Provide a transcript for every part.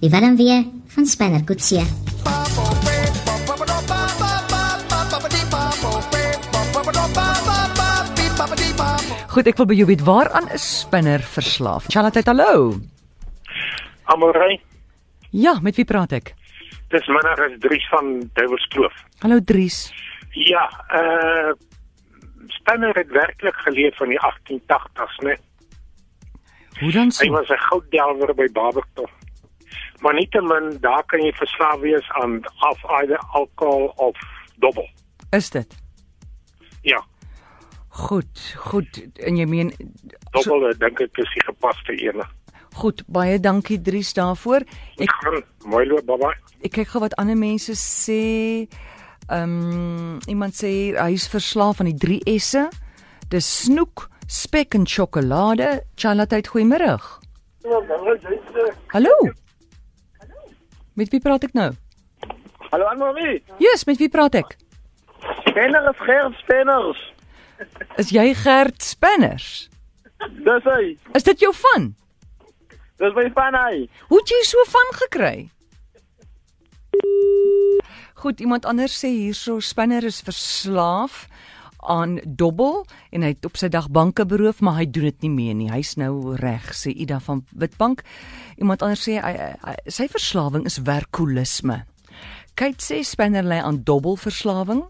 Die warm weer van Spanner Kutsie. Goed, ek wil by jou weet waaraan is spinner verslaaf? Charlotte, hallo. Amorey, Ja, met wie praat ek? dis middag is Dries van Duiwelskloof. Hallo Dries. Ja, uh Spanner het werklik geleef van die 1880s, né? Hoe dan Hy so? was 'n gouddelwer by Barberton. Maar nietemin daar kan jy verslaaf wees aan af either alkohol of dobbel. Is dit? Ja, Goed, goed. En jy meen so, dobbel so, dink ek is die gepaste een. goed, baie dankie Dries daarvoor. Ek Ek gaan mooi loop, baba. ek kyk gou wat ander mense sê. Ehm um, iemand sê hier, hy is verslaaf aan die 3 S'e. Dis snoek, spek en sjokolade. Charlotte, goeiemôre. Hallo. Met wie praat ek nou? Hallo Annelie. Jesus, met wie praat ek? Spenner is Gert Spenners. Is jy Gert Spinners? Dis hy. Is dit jou van? Dis my van hy. Hoe het jy so van gekry? Goed, iemand anders sê hierso Spinner is verslaaf aan dobbel en hy het op sy dag banke beroof, maar hy doen dit nie meer nie. Hy's nou reg, sê Ida van Witbank. Iemand anders sê hy, hy, sy verslawing is werkolisme. Kate sê Spinner lê aan dobbelverslawing.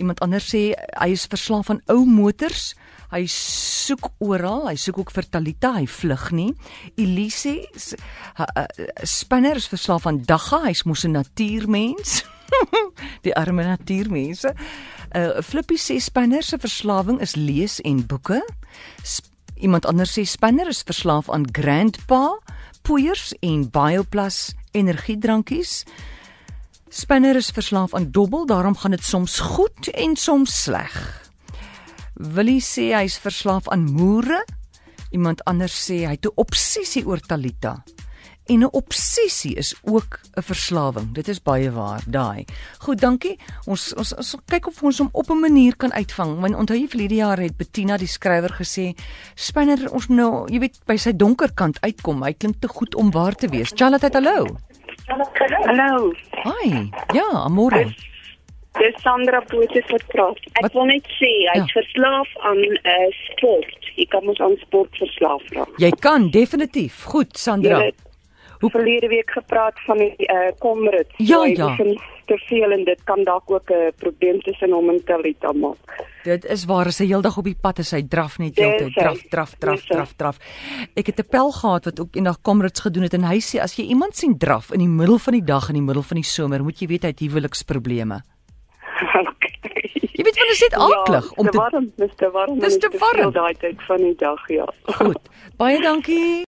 Iemand anders sê hy is verslaaf aan ou motors. Hy soek oral, hy soek ook vir Talita, hy vlug nie. Elise s- ha- ha- Spinner is verslaaf aan Dagga, hy's mos 'n natuurmens. die arme natuurmense. Uh Flippie sê Spinner se verslawing is lees en boeke. Sp iemand anders sê Spinner is verslaaf aan Grandpa, poeiers en Bioplas energiedrankies. Spinner is verslaaf aan dobbel, daarom gaan dit soms goed en soms sleg. Willie sê hy's verslaaf aan moere. Iemand anders sê hy het 'n obsessie oor Talita. En 'n obsessie is ook 'n verslawing. Dit is baie waar, daai. Goed, dankie. Ons ons, ons kyk of ons hom op 'n manier kan uitvang. Want onthou jy verlede jaar het Bettina die skrywer gesê, "Spinner, ons moet nou, jy weet, by sy donker kant uitkom. Hy klink te goed om waar te wees." Charlotte, hallo. Hallo, Hi. Ja, môre. dis Sandra Botha wat praat. Ek Wat- wil net sê, hy's Ja. verslaaf aan uh, sport. Jy kan mos aan sport verslaaf raak. Jy kan definitief. Goed, Sandra. Jy het Hoe- verlede week gepraat van die uh, Comrades. Ja, Hy ja. oefen Te veel en dit kan dalk ook 'n probleem tussen hom en Talita maak. Dit is waar as hy heeldag op die pad is, hy draf net heeltyd, Dis hy. draf, draf, draf, Dis hy. draf, draf. Ek het 'n pel gehad wat ook eendag Comrades gedoen het en hy sê as jy iemand sien draf in die middel van die dag in die middel van die somer, moet jy weet hy het huweliksprobleme. Jy weet want dit is net aaklig ja, om te te warm, dis te warm. en Dis te veel warm. daai tyd van die dag, ja. Goed. Baie dankie.